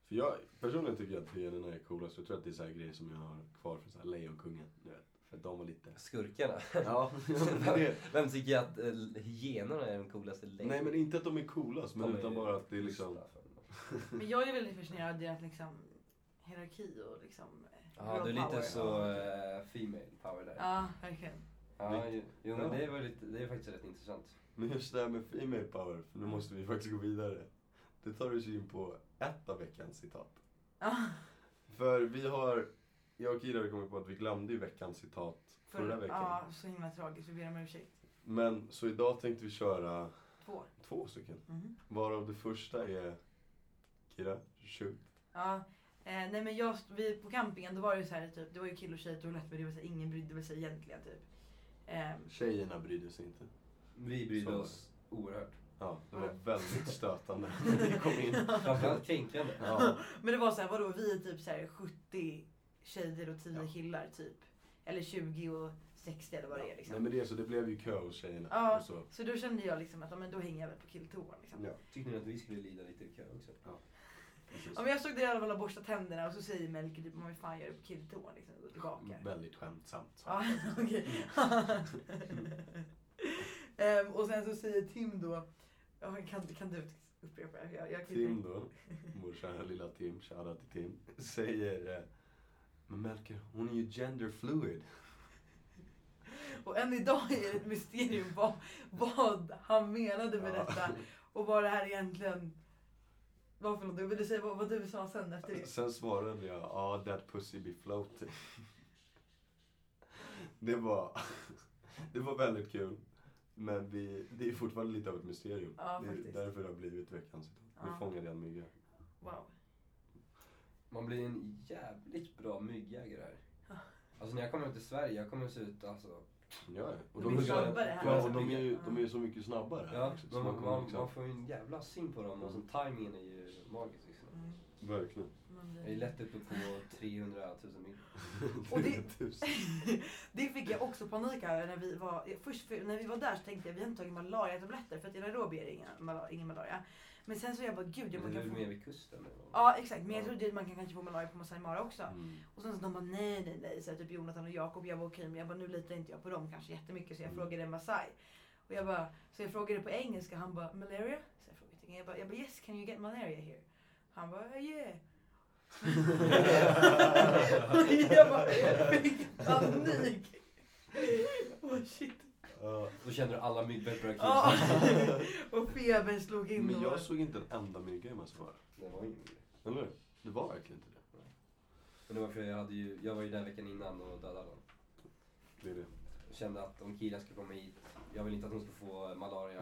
B: För jag personligen tycker jag att hyenorna är coolast. Jag tror att det är så här grejer som jag har kvar från så här Lejonkungen. Du vet. För att de var lite...
D: Skurkarna.
B: Ja, men det,
D: Vem tycker att eh, hyenorna är den coolaste längden?
B: nej men inte att de är coolast men
D: De är
B: utan
D: ju
B: bara att det är liksom...
D: schyssta för dem.
C: Men jag är väldigt fascinerad av deras liksom hierarki och liksom eh,
D: Ja,
C: girl
D: du är lite
C: power.
D: så eh, female power där. Ja,
C: Ja verkligen.
D: ju, jo men
B: Ja.
D: det var lite, det är faktiskt rätt intressant.
B: Men just det här med female power, för nu måste vi faktiskt gå vidare. Det tar oss ju in på ett av veckans citat.
C: Ja,
B: För vi har, jag och Kira har kommit på att vi glömde ju veckans citat
C: för-
B: förra veckan.
C: Ja så himla tragiskt, vi ber om ursäkt.
B: Men så idag tänkte vi köra
C: Två.
B: två stycken.
C: Mhm.
B: Varav det första är, Kira, shoot.
C: Ja. Eh, nej men jag, vi, på campingen då var det ju så här, typ, det var ju kill och tjejtoalett men det var så här, ingen brydde sig egentligen typ. Ehm,
B: Tjejerna brydde sig inte.
D: Vi brydde
B: Så.
D: oss oerhört.
B: Ja, det var väldigt stötande när vi kom in.
D: Framförallt kränkande.
B: Ja,
C: men det var så här, vadå vi är typ så här 70 tjejer och 10
B: Ja.
C: killar typ. Eller 20 och 60 eller vad det är liksom.
B: Nej men det är så, det blev ju kö hos tjejerna.
C: Ja.
B: Och så.
C: Så då kände jag liksom att ja, men då hänger jag väl på killtoan liksom.
B: Ja,
D: Tyckte ni att vi skulle lida lite i kö också?
B: precis.
C: Ja, men jag såg det i alla fall och borsta tänderna och så säger Melker typ vad fan gör du på killtoan liksom och går tillbaka.
B: Väldigt skämtsamt.
C: Ja, okej.
B: Mm.
C: Ehm, och sen så säger Tim då, ja, kan, kan du upprepa? typ det? Jag, jag kan inte-
B: Tim då, vår kära lilla Tim, shoutout till Tim, säger eh, Men Melker, hon är ju gender fluid.
C: Och än idag är det ett mysterium vad, vad han menade med
B: Ja.
C: detta. Och vad det här egentligen var för någonting. Vill du säga vad, vad du sa sen efter det?
B: Sen svarade jag, ja that pussy be floating. Det var, Det var väldigt kul. Men vi, det är fortfarande lite av ett mysterium.
C: Ja,
B: det är
C: faktiskt.
B: därför det har blivit veckans idag. Nu
C: Ja.
B: fångade jag en mygga.
C: Wow.
D: Man blir en jävligt bra myggjägare här. Alltså när jag kommer hem till Sverige, jag kommer se ut alltså...
B: Ja, och
C: De är snabbare här.
B: Ja, och de är ju de är ju så mycket snabbare. här,
D: Ja,
B: liksom. Så
D: man,
B: man kommer
D: man,
B: liksom,
D: man får ju en jävla syn på dem och så timingen är ju magisk liksom.
C: Mm. eh,
B: verkligen.
C: Man blir-
D: Jag är lätt uppe på 300 000 mil.
C: Och det-
B: 3000.
C: Det fick jag också panik över när vi var, först för, när vi var där så tänkte jag vi har inte tagit malariatabletter för att i Nairobi är det ingen, mal- ingen malaria. Men sen så jag bara gud jag bara
D: Men du är
C: kan
D: mer
C: få...
D: vid kusten eller vad?
C: Ja exakt men jag
D: Ja.
C: trodde att man kan kanske få malaria på Masai Mara också.
B: Mm.
C: Och sen så de bara nej nej nej så här, typ Jonathan och Jakob jag var okej men jag bara nu litar inte jag på dem kanske jättemycket så jag
B: Mm.
C: frågade en Masai. Och jag bara, så jag frågade på engelska han bara malaria? Så jag frågade jag bara, jag bara yes can you get malaria here? Han bara "Eh, yeah. jag bara jag fick panik. Oh, shit.
B: Ja.
D: Då känner du alla myggbett börjar
C: Ja.
D: krypa.
C: och febern slog in.
B: Men
C: och-
B: jag såg inte en enda mygga i Massabar.
D: Det var ingen mygg.
B: Eller hur? Det var verkligen inte det.
D: Men det var för jag, hade ju, jag var ju där veckan innan och dödade dem.
B: Det är det.
D: Jag kände att om Kira skulle komma hit, jag vill inte att hon ska få malaria.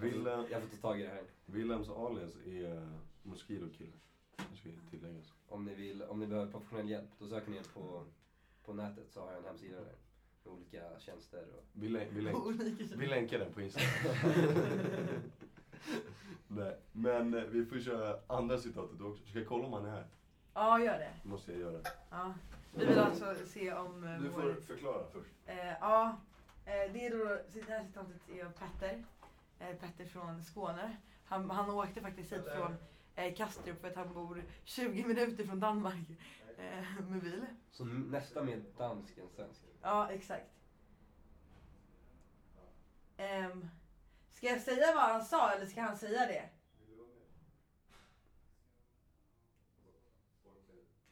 B: Willem,
D: Jag får ta tag i det här.
B: Willems alias är Mosquito-kille. Det ska tilläggas.
D: Om ni, vill, om ni behöver professionell hjälp, då söker ni hjälp på, på nätet så har jag en hemsida där. Med olika tjänster och...
B: Vi, län- vi, län-
C: Olika tjejer.
B: vi länkar den på Instagram. Nej, men eh, vi får köra andra citatet också. Ska jag kolla om han är här?
C: Ja, gör det.
B: Det måste jag göra.
C: Ja. Vi vill alltså se om eh,
B: Du
C: vår...
B: får förklara först.
C: Eh, ja, eh, det är då... så Det här citatet är av Petter. Eh, Petter från Skåne. Han, han åkte faktiskt hit från eh, Kastrup för att han bor 20 minuter från Danmark eh, med bil.
D: Så nästa mer dansk än svensk.
C: Ja, exakt. Ehm, ska jag säga vad han sa eller ska han säga det?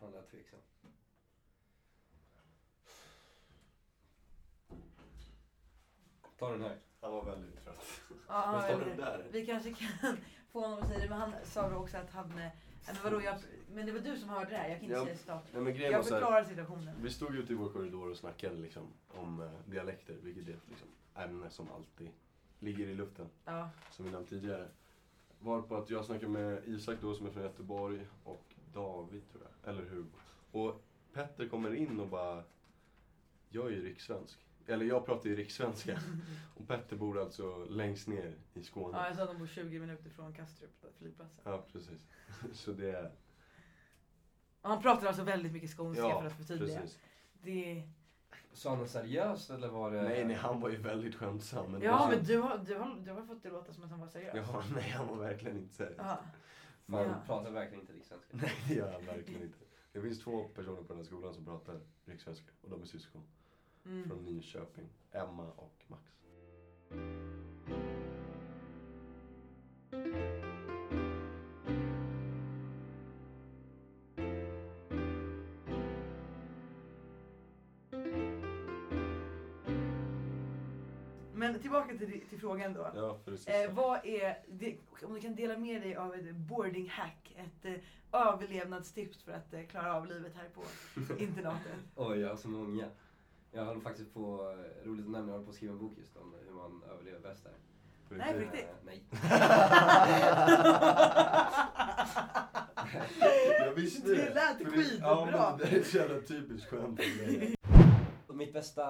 D: Han lät tveksam. Ta den här.
B: Han var väldigt trött.
C: Ja, han
B: Men
C: var
B: står
C: väldigt-
B: den där?
C: Vi kanske kan få honom att säga det, men han sa då också att han... eh, Men, vadå, jag, men det var du som hörde det här, jag kan inte
B: Ja.
C: säga citat.
B: Nej men grejen var
C: Jag
B: så här,
C: förklarar situationen.
B: Vi stod ute i vår korridor och snackade liksom, om eh, dialekter, vilket är ett liksom, ämne som alltid ligger i luften.
C: Ja,
B: som vi nämnt tidigare. Var på att jag snackade med Isak då som är från Göteborg och David tror jag, eller hur? Och Petter kommer in och bara, jag är ju rikssvensk. Eller jag pratar ju rikssvenska. Och Petter bor alltså längst ner i Skåne.
C: ja jag sa att de bor 20 minuter från Kastrup, på flygplatsen.
B: Ja, precis. Så det är...
C: Och han pratar alltså väldigt mycket skånska för
B: Ja,
C: att förtydliga.
B: precis.
C: Det,
D: Sa han det seriöst eller var det...
B: Nej, nej, han var ju väldigt skämtsam. Men
C: ja,
B: det
C: men du har, du, har, du har fått det låta som att han var seriös.
B: Ja, nej, han var verkligen inte seriös.
C: Ja.
D: Fan,
C: Ja.
D: han pratar verkligen inte rikssvenska.
B: Nej, det gör han verkligen inte. Det finns två personer på den här skolan som pratar rikssvenska och de är syskon.
C: Mm.
B: från Nyköping. Emma och Max.
C: Men tillbaka till, till frågan då.
B: Ja, för det sista.
C: Eh, vad är, det, om du kan dela med dig av ett boarding hack, ett eh, överlevnadstips för att eh, klara av livet här på internatet.
D: Oj, jag har så många. Jag håller faktiskt på, eh, roligt att nämna, jag håller på att skriva en bok just om hur man överlever bäst där.
B: För
C: nej,
B: det-
C: för- Riktigt?
D: Eh, nej.
B: jag visste
C: Det lät
B: För
C: skitbra.
B: Ja, men det där är ett jävla typiskt skämt. om mig.
D: Mitt bästa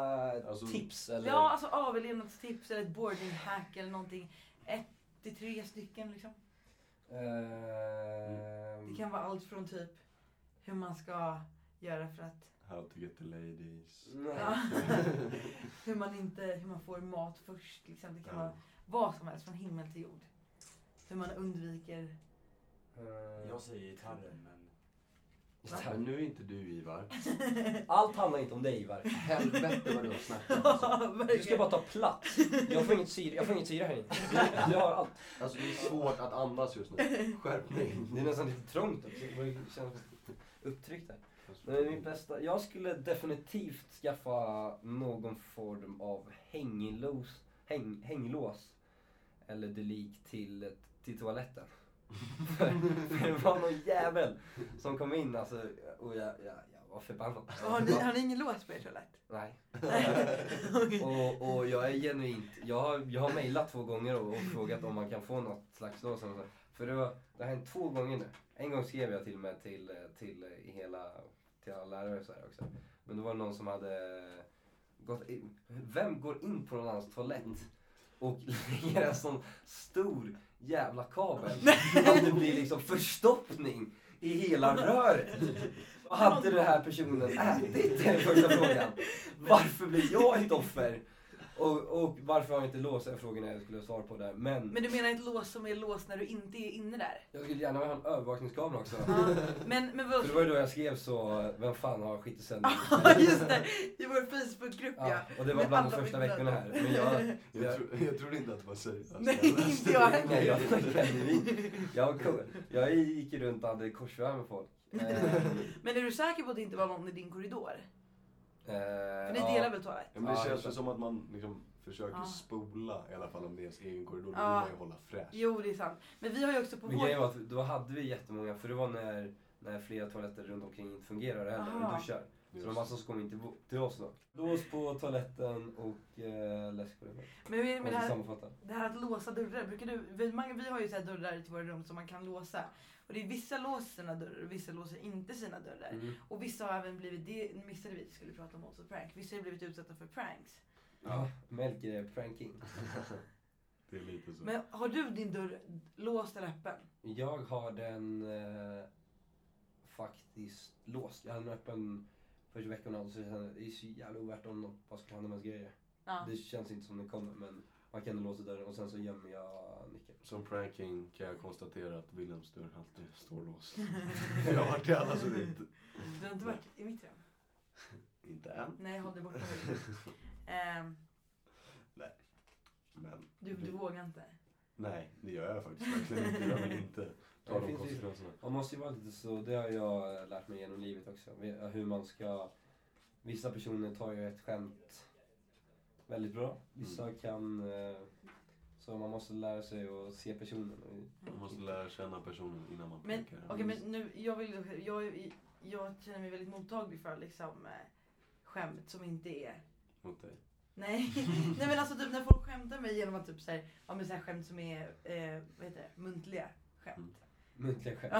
B: Alltså-
D: tips eller?
C: Ja, alltså överlevnadstips eller ett boarding hack eller någonting. Ett till tre stycken liksom.
D: Ehm,
C: Det kan vara allt från typ hur man ska göra för att
B: How to get the ladies.
D: nej.
C: ja, hur, man inte, hur man får mat först. Liksom. Det kan vara vad som helst, från himmel till jord. Hur man undviker...
D: Ehm,
F: Jag säger gitarren men...
B: Ja, men nu är inte du Ivar.
D: Allt handlar inte om dig Ivar.
B: Helvete vad du har snackat. Alltså.
D: Du ska
C: Verkligen.
D: bara ta plats. Jag får inget syre, jag får inget syre här inne. Du har allt.
B: alltså det är svårt att andas just nu. Skärpning.
D: Det är nästan lite trångt också. Det känns upptryckt här. Nej, min bästa. Jag skulle definitivt skaffa någon form av hänglås, häng, hänglås eller delik till, till toaletten. För det var någon jävel som kom in alltså, och jag, jag, jag var förbannad.
C: Och Har ni, har ni ingen lås på ert toalett?
D: Nej.
C: Okej.
D: Och, och jag är genuint, jag har, jag har mejlat två gånger och, och frågat om man kan få något slags lås. eller så. För det, var, det har hänt två gånger nu. En gång skrev jag till och med till, till, i hela, till alla lärare och så här också. Men då var det någon som hade gått in. Vem går in på någon annans toalett och lägger en sån stor jävla kabel? Att det blir liksom förstoppning i hela röret. Vad hade den här personen ätit? Det är den första frågan. Varför blir jag ett offer? Och, och varför har jag inte låst? Den frågan jag skulle svara på där. Men
C: Men du menar ett lås som är låst när du inte är inne där?
D: jag skulle gärna vilja ha en övervakningskamera också.
C: Ja. Men, men
D: För
C: vadå?
D: det var ju då jag skrev så, vem fan har skitit sönder
C: Ja just det, i vår Facebookgrupp
D: Ja,
C: Ah, ja.
D: och det var
C: Med
D: bland de
C: alla
D: första
C: bilder.
D: veckorna här. Men jag,
B: Jag,
D: jag,
B: tro, jag trodde inte att det var seriöst.
C: Nej,
B: läste
C: inte
B: det.
C: jag heller.
D: nej, jag, jag, jag, jag gick ju runt och hade korsvärme med folk. Eh,
C: Men är du säker på att det inte var någon i din korridor? För
D: Eh,
C: ni
D: ja.
C: delar väl toalett?
B: Ja, men det
D: Ja,
B: känns
D: exakt.
B: ju som att man liksom försöker
C: Ja.
B: spola i alla fall om det är ens egen korridor. Då vill
C: Ja.
B: man ju hålla fräsch.
C: Jo det är sant. Men vi har ju också på
D: Men
C: vår...
D: grejen var att då hade vi jättemånga, för det var när, när flera toaletter runt omkring inte fungerade heller,
C: Aha.
D: och duschar. Så det var massa som kom in till, vo- till oss då. Lås på toaletten och eh, läsk på det.
C: Men hur är det
D: Man
C: med det
D: ska
C: här,
D: sammanfatta.
C: det här att låsa dörrar? Brukar du... vi, många, vi har ju så här dörrar till våra rum som man kan låsa. Och det är vissa låser sina dörrar och vissa låser inte sina dörrar.
D: Mm.
C: Och vissa har även blivit, det missade vi, skulle prata om också prank. Vissa har blivit utsatta för pranks.
D: Ja, Melker är pranking.
B: Det är lite
D: Mm.
B: så.
C: Men har du din dörr låst eller öppen?
D: Jag har den eh, faktiskt låst. Jag hade den öppen första veckan och så kände jag, det är så jävla ovärt om något, vad skulle hända med ens grejer.
C: Ja.
D: Det känns inte som det kommer men man kan ändå låsa dörren och sen så gömmer jag nyckeln.
B: Som pranking kan jag konstatera att Wilhelms dörr alltid står låst. jag har varit i alla så det inte...
C: Du har inte varit i mitt rum?
B: Inte än.
C: Nej, håll dig borta. Ehm,
B: Men
C: du, du vågar inte.
B: nej, det gör jag faktiskt verkligen inte. Jag vill inte ta
D: Det
B: de
D: finns ju-
B: konsekvenserna.
D: Man måste ju vara lite så, det har jag lärt mig genom livet också. Hur man ska... Vissa personer tar ju ett skämt väldigt bra. Vissa kan... eh, Så man måste lära sig att se personen.
B: Man måste
D: Mm.
B: lära känna personen innan man
C: Men,
B: prankar.
C: okej, men nu, jag, vill, jag, jag känner mig väldigt mottaglig för liksom, eh, skämt som inte är...
B: Mot dig.
C: Nej. Nej men alltså typ när folk skämtar mig genom att typ så här, ja, men så här skämt som är eh, vad heter det? muntliga skämt.
D: Muntliga skämt.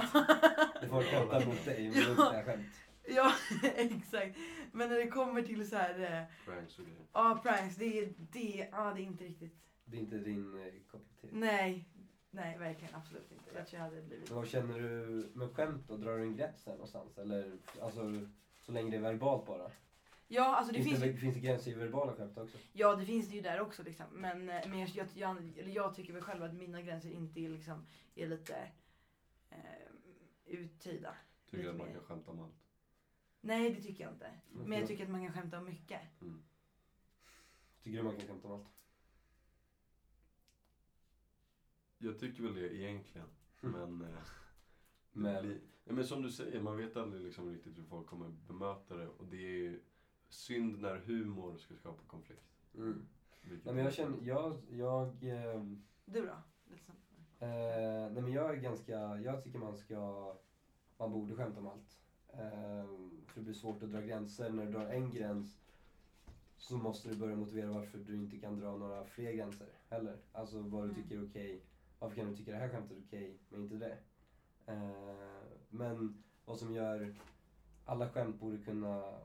D: Det får skämta mot dig, men
C: Ja.
D: muntliga skämt.
C: ja exakt. Men när det kommer till så här, eh,
B: Pranks och grejer.
C: ja pranks, det är, det, är- ja, det är inte riktigt...
D: Det är inte din eh, kopp
C: Mm.
D: te.
C: Nej, nej verkligen absolut inte. Jag tror jag hade blivit...
D: Men Vad känner du med skämt då? Drar du en gräns där någonstans? Eller alltså, så länge det är verbalt bara?
C: Ja, alltså det finns ju
D: det, finns det gränser i verbala skämt också?
C: Ja det finns det ju där också liksom. Men, eh, men jag, jag, jag, eller jag tycker väl själv att mina gränser inte är, liksom, är lite eh, uttida.
B: Tycker
C: Lite
B: att man
C: mer.
B: kan skämta om allt.
C: Nej det tycker jag inte. Men jag
D: Mm.
C: tycker att man kan skämta om mycket.
D: Tycker du man kan skämta om allt?
B: Jag tycker väl det egentligen.
D: Mm.
B: Men... eh, Det
D: Men,
B: blir- Ja, men som du säger, man vet aldrig liksom riktigt hur folk kommer bemöta det. Och det är ju synd när humor ska skapa konflikt.
D: mm.
B: Vilket-
D: Nej, men jag känner, jag, jag, ehm,
C: Du då? Lite som-
D: eh, nej men jag är ganska, jag tycker man ska, man borde skämta om allt. Ehm, för det blir svårt att dra gränser. När du drar en gräns så måste du börja motivera varför du inte kan dra några fler gränser heller. Alltså vad du
C: Mm.
D: tycker är okej. Varför kan du tycka det här skämtet är okej, men inte det? Eh, men vad som gör, alla skämt borde kunna,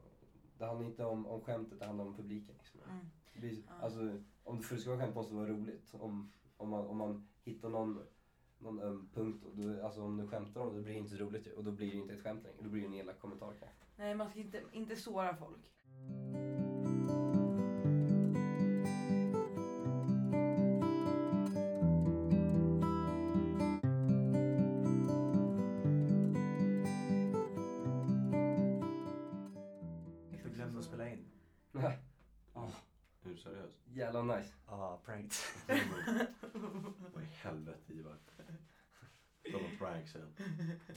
D: det handlar inte om, om skämtet, det handlar om publiken. Liksom.
C: Mm.
D: Det blir,
C: Ja.
D: alltså, om det för det ska vara skämt måste det vara roligt. Om, om, man, om man hittar någon, någon öm punkt, och då, alltså om du skämtar om det, då blir det inte så roligt ju. Och då blir det inte ett skämt längre, då blir det en elak kommentar kanske.
C: Nej man ska inte, inte såra folk.
F: Jag glömde att spela in.
B: Hur seriöst?
D: Jävla nice.
F: Ah, pranked.
B: Vad i helvete Ivar? Kolla på pranksen.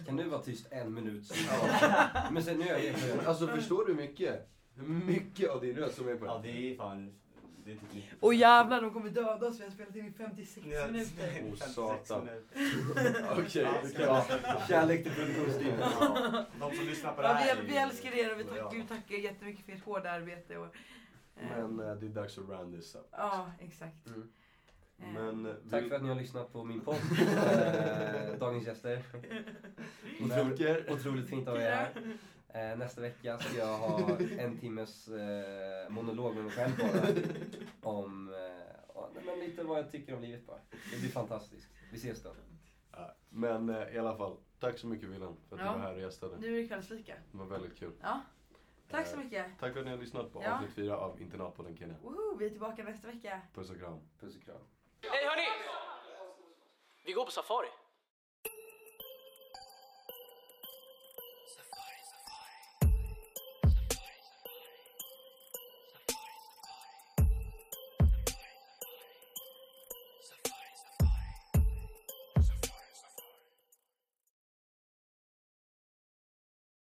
D: Kan du vara tyst en minut? Så- Ja. Men sen nu är jag
B: Alltså förstår du mycket? Mycket av din röst som är på
F: Ja, det är fan
G: Det är typ 90%.
C: Och jävlar, de kommer döda oss. Vi har spelat in i 56
F: Ja,
C: minuter.
B: Åh,
F: 56
B: satan.
F: minuter.
B: Okej,
G: Ja,
B: det
G: ska
B: kan
G: jag-
B: Kärlek till produktionsteamet.
G: Ja, De som lyssnar på det
C: Ja,
G: här. är
C: vi,
G: ju-
C: vi älskar er och vi
G: Ja.
C: tackar, vi tackar er jättemycket för ert hårda arbete. Och, eh,
B: Men eh, det är dags att round this up.
C: Ja, exakt.
D: Mm.
C: Eh,
B: Men, eh, vi-
D: Tack för att ni har lyssnat på min podd. Eh, Dagens gäster.
B: Otroligt.
D: Otroligt fint av er här. Eh, Nästa vecka ska jag ha en timmes eh, monolog med mig själv bara. Om eh, ja, nej, men lite vad jag tycker om livet bara. Det blir fantastiskt. Vi ses då.
B: Ja, Men eh, i alla fall, tack så mycket Wilhelm för att
C: Ja.
B: du var här och gästade.
C: Nu är det kvällsfika.
B: Det var väldigt kul.
C: Ja. Tack så
B: Eh,
C: mycket.
B: Tack för att ni har lyssnat på
C: Ja.
B: avsnitt 4 av Internatpodden Kenya.
C: Woho, vi är tillbaka nästa vecka.
B: Puss och kram.
D: Puss och kram.
A: Hej hörni! Vi går på safari.